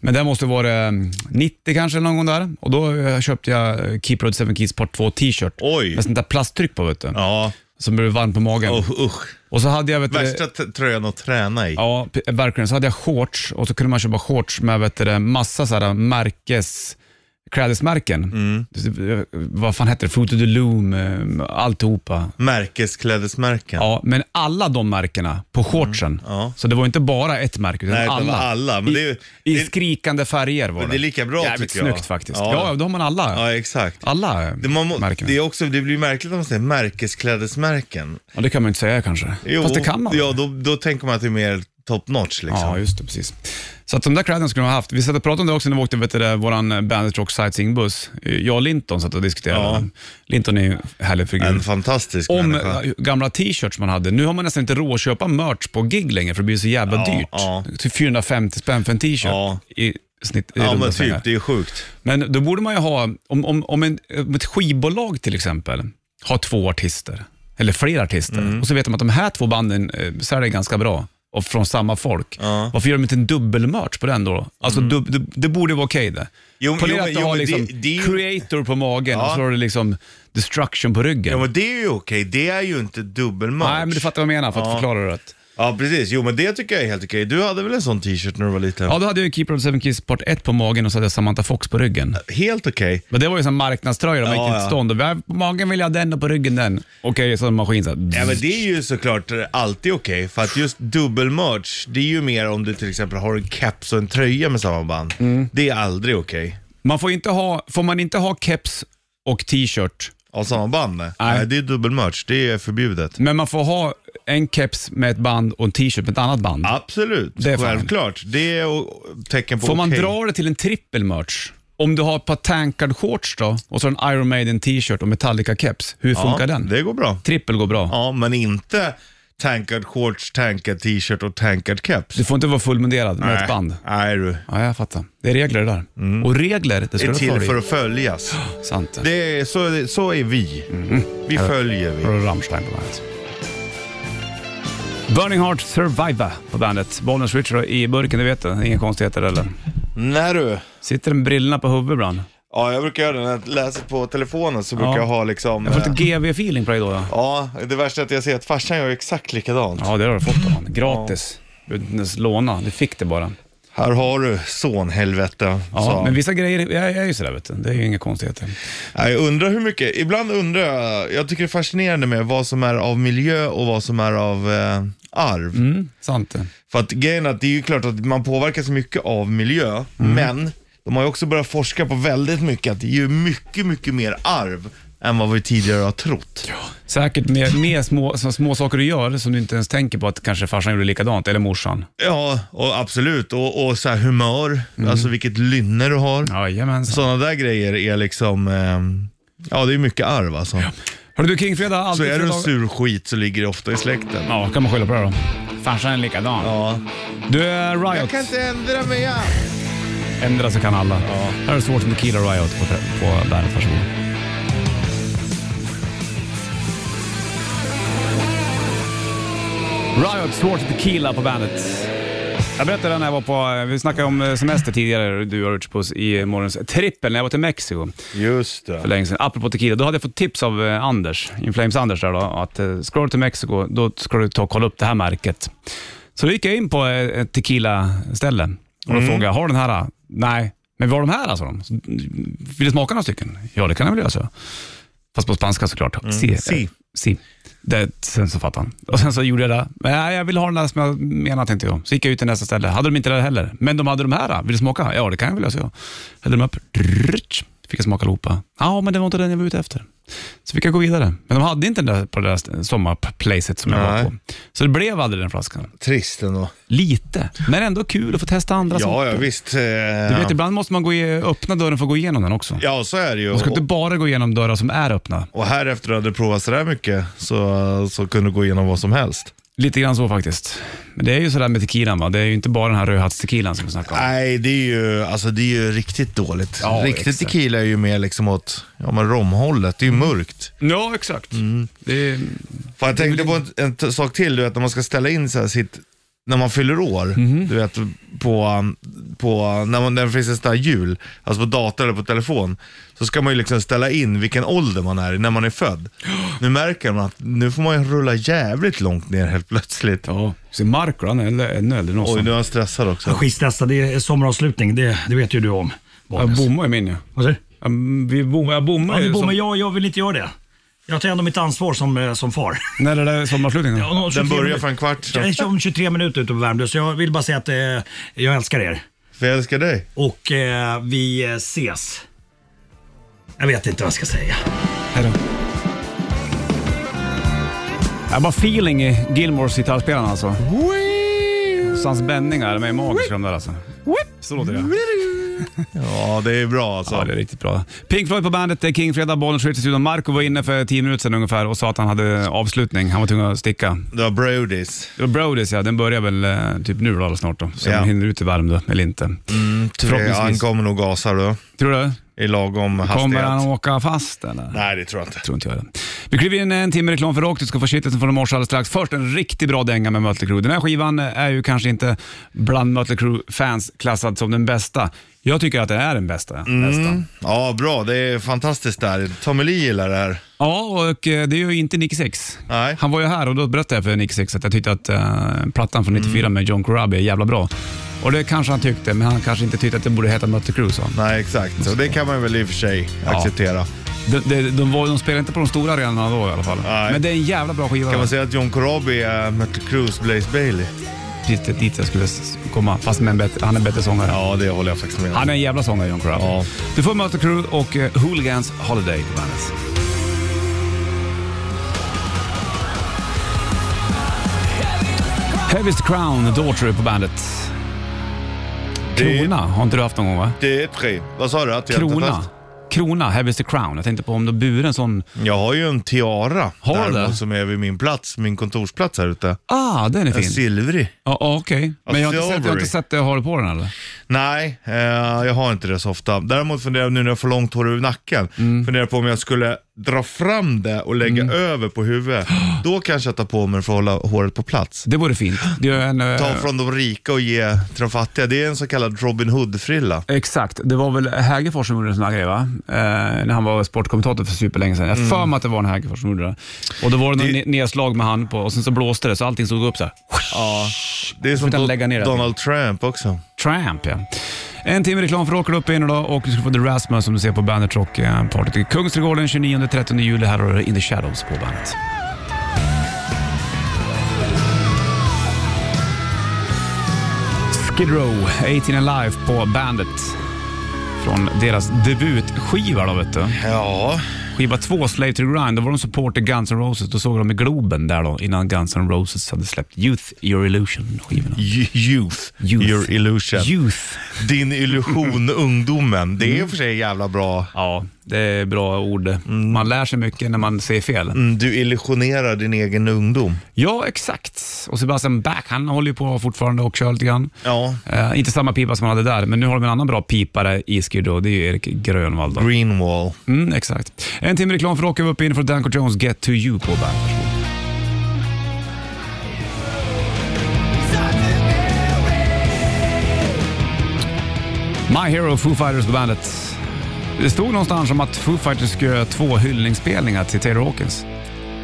S2: Men det måste vara eh, 90 kanske någon gång där. Och då eh, köpte jag eh, Keep Road 7 Keys Part 2 t-shirt.
S3: Oj.
S2: Med sånt där plasttryck på vet du.
S3: Ja,
S2: Som blev varmt på magen.
S3: oh, usch.
S2: Och så hade jag vet du,
S3: Värsta t- tröjan att träna i.
S2: Ja, p- eh, verkligen. Så hade jag shorts och så kunde man köpa shorts med vet du, det, massa så här eh, märkes klädesmärken.
S3: Mm.
S2: Eh, Vad fan hette det? Fruit of the Loom, eh, alltihopa.
S3: Märkesklädesmärken.
S2: Ja, men alla de märkena på shortsen.
S3: Mm, ja.
S2: Så det var inte bara ett märke, utan
S3: Nej, det var
S2: alla.
S3: alla, men det är ju-
S2: I, I
S3: det-
S2: skrikande färger var det.
S3: Men det är lika bra,
S2: Jävligt
S3: tycker jag.
S2: snyggt faktiskt.
S3: Ja.
S2: Ja. ja, då har man alla.
S3: Ja, exakt.
S2: Alla
S3: Det, man må,
S2: märken.
S3: det, är också, det blir ju märkligt om man säger märkesklädesmärken.
S2: Ja, det kan man ju inte säga kanske.
S3: Jo,
S2: Fast det kan man.
S3: Ja, då, då tänker man att det är mer top notch liksom.
S2: Ja, just det. Precis. Så att de där kläderna skulle de ha haft. Vi satt och pratade om det också när vi åkte vet du, det, våran Bandit Rock sightseeingbuss. eh, Jag och Linton satt och diskuterade.
S3: Ja.
S2: Linton är ju en härlig figur.
S3: En fantastisk
S2: om
S3: människa.
S2: eh, gamla t-shirts man hade. Nu har man nästan inte råd att köpa merch på gig längre för det blir så jävla
S3: Ja,
S2: dyrt.
S3: ja.
S2: Typ 450 spänn för en t-shirt
S3: Ja.
S2: i snitt. I
S3: Ja
S2: runda
S3: men
S2: slängar.
S3: typ, det är ju sjukt.
S2: Men då borde man ju ha, om, om, om, en, om ett skivbolag till exempel har två artister, eller fler artister,
S3: Mm.
S2: och så vet de att de här två banden eh, säljer ganska bra och från samma folk. Varför gör de inte en dubbelmerch på den då? Alltså, dub, det, det borde vara okej det.
S3: Mm. Jo,
S2: Ponera
S3: jo,
S2: att du
S3: jo,
S2: har
S3: men
S2: liksom
S3: det- det är ju-
S2: creator på magen och
S3: Ja.
S2: så har du liksom destruction på ryggen.
S3: Ja men det är ju okej, det är ju inte dubbelmatch.
S2: Nej, men du fattar vad jag menar för att
S3: Ja.
S2: förklara det rätt.
S3: Ja precis, jo men det tycker jag är helt okej. Du hade väl en sån t-shirt när du var liten?
S2: Ja, då hade jag ju Keeper of the Seven Keys part 1 på magen och så hade jag Samantha Fox på ryggen.
S3: Helt okej.
S2: Men det var ju som marknadströjor, de gick
S3: Ja,
S2: inte
S3: ja.
S2: stånd. Och vi- På magen vill jag ha den och på ryggen den. Okej, så en maskin så här.
S3: Ja men det är
S2: Mm.
S3: ju såklart alltid okej, för att just dubbelmerch, det är ju mer om du till exempel har en keps och en tröja med samma band.
S2: Mm.
S3: Det är aldrig okej.
S2: Man får, inte ha, får man inte ha keps och t-shirt,
S3: Av samma band? Nej.
S2: Nej.
S3: Nej, det är dubbelmerch, det är förbjudet.
S2: men man får ha en keps med ett band och en t-shirt med ett annat band.
S3: Absolut,
S2: Det är fan.
S3: självklart. Det är o- tecken på
S2: får man
S3: okej.
S2: dra det till en trippelmerch? Om du har ett par tankard shorts då och så en Iron Maiden t-shirt och Metallica-keps, hur funkar den?
S3: Det går bra.
S2: Trippel går bra.
S3: Ja, men inte tankad shorts, tankad t-shirt och tankad keps.
S2: Du får inte vara fullmunderad med ett band.
S3: Nej du.
S2: Ja, jag fattar. Det är regler det där. Och regler, det
S3: Mm. Det
S2: ska
S3: är
S2: du
S3: till för
S2: för
S3: att följas.
S2: Sant.
S3: Det är, så, är- så är vi.
S2: Mhm.
S3: Vi följer vi.
S2: Och Rammstein på bandet. Burning Heart Survivor på bandet. Bollnäs Richard i burken, det vet du. Inga konstigheter eller?
S3: När du.
S2: Sitter den brillorna på huvudet ibland?
S3: Ja, jag brukar göra det när jag läser på telefonen så brukar
S2: Ja.
S3: jag ha liksom...
S2: Jag får
S3: eh,
S2: lite GV-feeling på dig då. Ja,
S3: Ja, det värsta är att jag ser att farsan gör exakt likadant.
S2: ja det har du fått man. Gratis. Du behöver inte ens låna, du fick det bara.
S3: Här har du sonhelvete.
S2: Ja,
S3: sa han.
S2: men vissa grejer jag, jag är ju sådär vet du. Det är ju inga konstigheter.
S3: Ja, Jag undrar hur mycket, ibland undrar jag, jag tycker det är fascinerande med vad som är av miljö och vad som är av eh, arv.
S2: Mm, sant det.
S3: För att grejen är att det är ju klart att man påverkas mycket av miljö,
S2: Mm.
S3: men de har ju också börjat forska på väldigt mycket att det är ju mycket, mycket mer arv än vad vi tidigare har trott.
S2: Säkert med, med små, så små saker du gör som du inte ens tänker på att kanske farsan gjorde likadant, eller morsan.
S3: Ja, och absolut. Och, och så här humör,
S2: Mm.
S3: alltså vilket lynne du har.
S2: Jajamensan.
S3: Sådana där grejer är liksom, ehm, ja det är mycket arv alltså.
S2: Hörru du, Kingfredag,
S3: Så
S2: alltid
S3: är du en
S2: fredag-
S3: sur skit så ligger det ofta i släkten.
S2: Ja, kan man skylla på det då. Farsan är likadan.
S3: Ja.
S2: Du, eh, Riot.
S3: ändra mig. ja.
S2: Ändra så kan alla. Här är svårt med Killer Riot på, på bandet. Varsågod. Riot, svårt att tequila på bandet. Jag berättade när jag var på, vi snackade om eh, semester tidigare, du och Rich Puss, i morgons trippel när jag var till Mexiko
S3: Just
S2: för
S3: det.
S2: länge sedan. Apropå tequila, då hade jag fått tips av eh, Anders, Inflames Anders där då, att eh, ska du till Mexiko, då ska du ta och kolla upp det här märket. Så då gick jag in på eh, ett tequila-ställe och då frågade jag, har du den här? Nej, men vi har de här, sa de. Så, Vill du smaka några stycken? Ja, det kan jag väl göra, så. Fast på spanska såklart. Si.
S3: Si.
S2: si. Det, sen så fattade han. Och sen så gjorde jag det. Nej, jag vill ha den där som jag menar, tänkte jag. Så gick jag ut till nästa ställe. Hade de inte det heller? Men de hade de här. Vill du smaka? Ja, det kan jag väl göra, så jag. Hällde de upp. Drrrrtsch. Fick jag smaka allihopa. Ja, men det var inte den jag var ute efter. Så fick jag gå vidare. Men de hade inte den där på det där sommarplacet som jag var
S3: Nej.
S2: på. Så det blev aldrig den flaskan.
S3: Trist ändå.
S2: Lite, men ändå kul att få testa andra
S3: Ja,
S2: sorter.
S3: ja visst. eh,
S2: Du vet, ibland måste man gå i, öppna dörren för att gå igenom den också.
S3: Ja, så är det ju.
S2: Man ska inte bara gå igenom dörrar som är öppna.
S3: Och här efter du hade provat sådär mycket så, så kunde du gå igenom vad som helst.
S2: Lite grann så faktiskt. Men det är ju sådär med tequilan va, det är ju inte bara den här rödhattstequilan som vi snackar om.
S3: Nej, det är ju, alltså, det är ju riktigt dåligt.
S2: Ja,
S3: riktigt
S2: exakt.
S3: tequila är ju mer liksom åt ja, men romhållet. Det är ju mörkt.
S2: Ja, exakt. Mm. Det är,
S3: Fan, jag tänkte på en, en t- sak till, du vet när man ska ställa in så här sitt, när man fyller år,
S2: Mhm.
S3: du vet på, um, på när, man, när det finns ett sånt här hjul, alltså på dator eller på telefon, så ska man ju liksom ställa in vilken ålder man är i när man är född. Nu märker man att nu får man ju rulla jävligt långt ner helt plötsligt.
S2: ja. Så Marco, han är äldre- ännu äldre än oss.
S3: Oj, nu är han stressad också.
S7: Skitstressad, det är sommaravslutning. Det, det vet ju du om.
S2: Jag
S7: Bollnäs.
S2: bommar ju min ja.
S7: Vad säger du?
S2: Jag vi bommar, jag bommar
S7: Ja,
S2: ju
S7: du bor
S2: som-
S7: med jag, jag vill inte göra det. Jag tar ändå mitt ansvar som, eh, som far.
S2: När är det där sommarslutningen?
S7: Ja, om 23
S3: Den börjar
S7: minuter-
S3: för en kvart
S7: Jag
S3: sedan.
S7: är om 23 minuter ute på Värmdö, så jag vill bara säga att eh, jag älskar er.
S3: För jag älskar dig.
S7: Och eh, vi eh, ses. Jag vet inte vad jag ska säga.
S2: Hej då. Jag har bara feeling i Gilmores gitarrspelaren alltså. Sans bändningar, de är magiska de där alltså. Så låter det.
S3: Ja, det är bra alltså.
S2: Ja, det är riktigt bra. Pink Floyd på bandet, det är King Fredag, bollen skjuts i studion. Marco var inne för 10 minuter sedan ungefär och sa att han hade avslutning. Han var tvungen att sticka.
S3: Du har Brodies.
S2: Det var Brodies ja, den börjar väl eh, typ nu då, eller snart då. Så
S3: Ja.
S2: de hinner ut i Värmdö, eller inte.
S3: Tre, han
S2: Förhoppningsvis.
S3: kommer nog gasa du.
S2: Tror du?
S3: I lagom
S2: Kommer han
S3: hastighet.
S2: åka fast eller?
S3: Nej, det tror jag inte.
S2: Tror inte jag det. Vi kliver in en timme reklam för rakt. Du ska få shitlisten från i morse alldeles strax. Först en riktigt bra dänga med Mötley Crüe. Den här skivan eh, är ju kanske inte bland Mötley Crüe-fans klassad som den bästa. Jag tycker att det är den bästa.
S3: Mm.
S2: Nästan.
S3: Ja, bra. Det är fantastiskt där. Tommy Lee gillar det här.
S2: Ja, och eh, det är ju inte Nicky Six.
S3: Nej.
S2: Han var ju här och då berättade jag för Nicky Six att jag tyckte att eh, plattan från 94
S3: Mm.
S2: med John Corabi är jävla bra. Och det kanske han tyckte, men han kanske inte tyckte att det borde heta Mötley Crüe, sa han.
S3: Nej, exakt. Så det kan man väl i och för sig acceptera.
S2: De, de, de, var, de spelade inte på de stora arenorna då i alla fall.
S3: Nej.
S2: Men det är en jävla bra skiva.
S3: Kan man säga att John Corabi är Mötley Crues Blaze Bailey?
S2: Precis det- dit jag skulle s- komma, fast med en bättre, han är en bättre sångare.
S3: Ja, det håller jag faktiskt med
S2: Han
S3: om.
S2: är en jävla sångare, John Corabi.
S3: Ja.
S2: Du får möta Crew och eh, Hooligans Holiday på bandet. Heaviest Crown, Daughtry på bandet.
S3: Det-
S2: Krona har inte du haft någon gång va?
S3: Det är tre. Vad sa du? Att jag inte
S2: Krona.
S3: fast?
S2: Krona, Heaviest Crown. Jag tänkte på om du burit en sån.
S3: Jag har ju en tiara
S2: Har du
S3: däremot,
S2: det?
S3: som är vid min plats, min kontorsplats här ute.
S2: Ah, den är
S3: En
S2: fin.
S3: silvrig.
S2: Ja, ja, okej. Men jag har, inte sett, jag har
S3: Silvery.
S2: inte sett det. Har du på den eller?
S3: Nej, eh, jag har inte det så ofta. Däremot funderar jag nu när jag får långt hår över nacken,
S2: Mm.
S3: funderar på om jag skulle dra fram det och lägga över på huvudet. Då kanske jag tar på mig det för att hålla håret på plats.
S2: Det vore fint. Det är en, eh,
S3: Ta från de rika och ge till de fattiga. Det är en så kallad Robin Hood-frilla.
S2: Exakt. Det var väl Hägerfors som gjorde en sån här grej, va? Eh, när han var sportkommentator för superlänge sedan. Jag har för mig att det var en Hägerfors som gjorde det. Och då var det, någon
S3: Mm. Det-
S2: ne- nedslag med han på och sen så blåste det så allting såg upp så här.
S3: Ja. Det är som
S2: Får inte
S3: Do-
S2: lägga ner det.
S3: Donald Trump också.
S2: Tramp, ja. En timme reklam för Åker upp in idag och du ska få The Rasmus som du ser på Bandet Rock eh, Party i Kungsträdgården 29-30 juli. Här har du In the Shadows på bandet. Skid Row, 18 Alive på Bandet. Från deras debutskiva då, vet du.
S3: Ja,
S2: Skiva 2, Slave to the Grind, då var de supporter Guns N' Roses. Då såg de i Globen där då, innan Guns N' Roses hade släppt Youth, Your Illusion-skivorna.
S3: Y- youth.
S2: Youth.
S3: Your illusion.
S2: Youth. Mm.
S3: Din illusion, ungdomen. Det är i och för sig jävla bra.
S2: Ja, det är bra ord. Man lär sig mycket när man säger fel.
S3: Mm, Du illusionerar din egen ungdom.
S2: Ja, exakt. Och Sebastian Bach, han håller ju på fortfarande och kör lite grann.
S3: Ja.
S2: Eh, inte samma pipa som han hade där, men nu har de en annan bra pipare i Skid Row. Det är ju Erik Grönvall. Då.
S3: Greenwall.
S2: Mm, exakt. En timme reklam för Rocker. Vi är uppe in för Danko Jones Get To You på Bandet. My Hero Foo Fighters på Bandet. Det stod någonstans om att Foo Fighters skulle göra två hyllningsspelningar till Taylor Hawkins.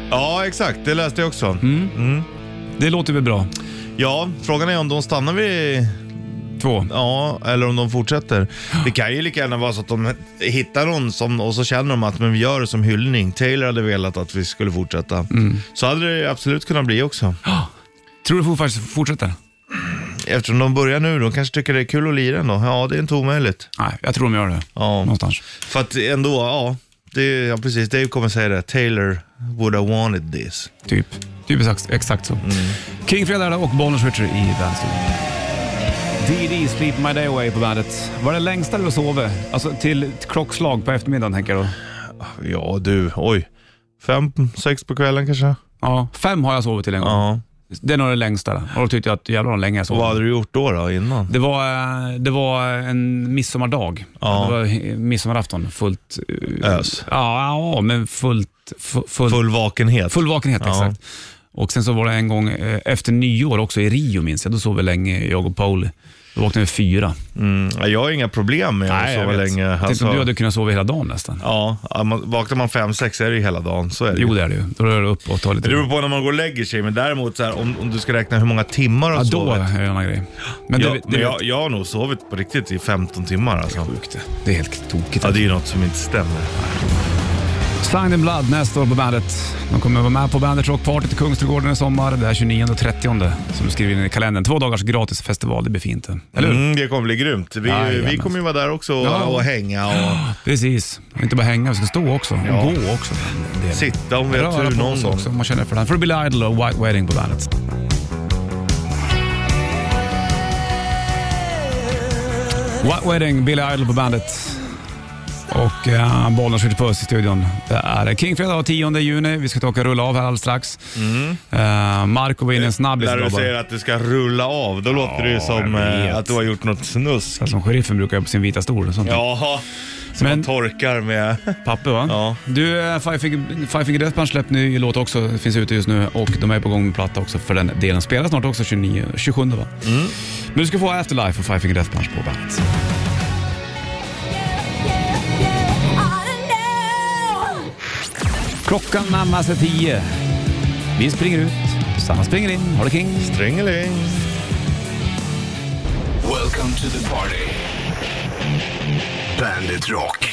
S3: Ja, exakt. Det läste jag också.
S2: Det låter väl bra?
S3: Ja, frågan är om de stannar vid...
S2: Två.
S3: Ja, eller om de fortsätter. Det kan ju lika gärna vara så att de hittar någon som, och så känner de att men vi gör det som hyllning. Taylor hade velat att vi skulle fortsätta. Så hade det absolut kunnat bli också.
S2: Tror du Foo Fighters fortsätter?
S3: Eftersom de börjar nu, de kanske tycker det är kul att lira ändå. Ja, det är inte omöjligt.
S2: Nej, jag tror de gör det.
S3: Ja.
S2: Någonstans.
S3: För att ändå, ja. det, ja, precis. Dave kommer säga det. Taylor would have wanted this.
S2: Typ. Typ exakt, exakt så. King Fredag och Bonus Richard i Bandstudion. DD Sleep My Day Away på bandet. Var det längsta du har sovit? Alltså till ett klockslag på eftermiddagen tänker jag då.
S3: Ja du, oj. Fem, sex på kvällen kanske?
S2: Ja, fem har jag sovit till en gång.
S3: Ja.
S2: Det är nog det längsta. där. Och då tyckte jag att jävlar vad länge jag sov.
S3: Vad hade du gjort då, då innan?
S2: Det var, eh, det var en midsommardag.
S3: Ja.
S2: Det var he- midsommarafton. Fullt... eh,
S3: Ös.
S2: Ja, ja men fullt... fu- Full, full.
S3: Full vakenhet.
S2: vakenhet,
S3: Ja.
S2: exakt. Och sen så var det en gång eh, efter nyår också i Rio minns jag. Då sov vi länge, jag och Paul. Då vaknade vi fyra.
S3: Mm, ja, jag har inga problem med att sova
S2: vet.
S3: länge.
S2: Tänk
S3: Alltså,
S2: om du hade kunnat sova hela dagen nästan.
S3: Ja, ja, man, vaknar man fem, sex är det ju hela dagen. Så är det ju.
S2: Jo, det är det ju. Då rör du upp och tar lite...
S3: Det beror på när man går och lägger sig, men däremot så här, om, om du ska räkna hur många timmar du
S2: ja,
S3: har
S2: då
S3: sovit.
S2: är det en annan grej. Men det,
S3: Ja,
S2: det,
S3: men jag, jag har nog sovit på riktigt i 15 timmar alltså.
S2: sjukt det. Det är helt tokigt.
S3: Ja, det är ju något som inte stämmer.
S2: Signed in Blood nästa år på bandet. De kommer vara med på Bandet Rock Party till Kungsträdgården i sommar. Det är 29 och 30 som du skriver in i kalendern. Två dagars gratis festival, det blir fint. det. Eller hur?
S3: Mm, det kommer bli grymt. Vi,
S2: Jajamän.
S3: vi kommer ju vara där också och,
S2: Ja.
S3: och hänga och
S2: Precis. Och inte bara hänga, vi ska stå också. Och
S3: Ja.
S2: gå också. Det är-
S3: sitta om vi har
S2: Röra
S3: tur
S2: på
S3: någon
S2: oss
S3: gång.
S2: också om man känner för det. För Billy Idol och White Wedding på bandet. White Wedding, Billy Idol på bandet. Och eh, bollen skjuter puss i studion. Det är Kingfredag 10 juni. Vi ska ta och rulla av här alldeles strax. Eh, Marco var inne en snabbis
S3: När
S2: idag
S3: Mm. du
S2: bara.
S3: säger att du ska rulla av, då låter det ju som
S2: jag vet.
S3: eh, att du har gjort något snusk.
S2: Som sheriffen brukar göra på sin vita stol. och Sånt.
S3: Ja, som
S2: Men-
S3: man torkar med.
S2: Papper va?
S3: Ja.
S2: Du, eh, Five Finger, Five Finger Death Punch släppte ny låt också, finns ute just nu och de är på gång med platta också för den delen. Spelas snart också 29, 27 va? Men du ska få Afterlife och Five Finger Death Punch på bandet. Klockan närmar sig tio. Vi springer ut, Sanna springer in. Ha det king.
S3: Tringeling.
S1: Welcome to the party. Bandit Rock.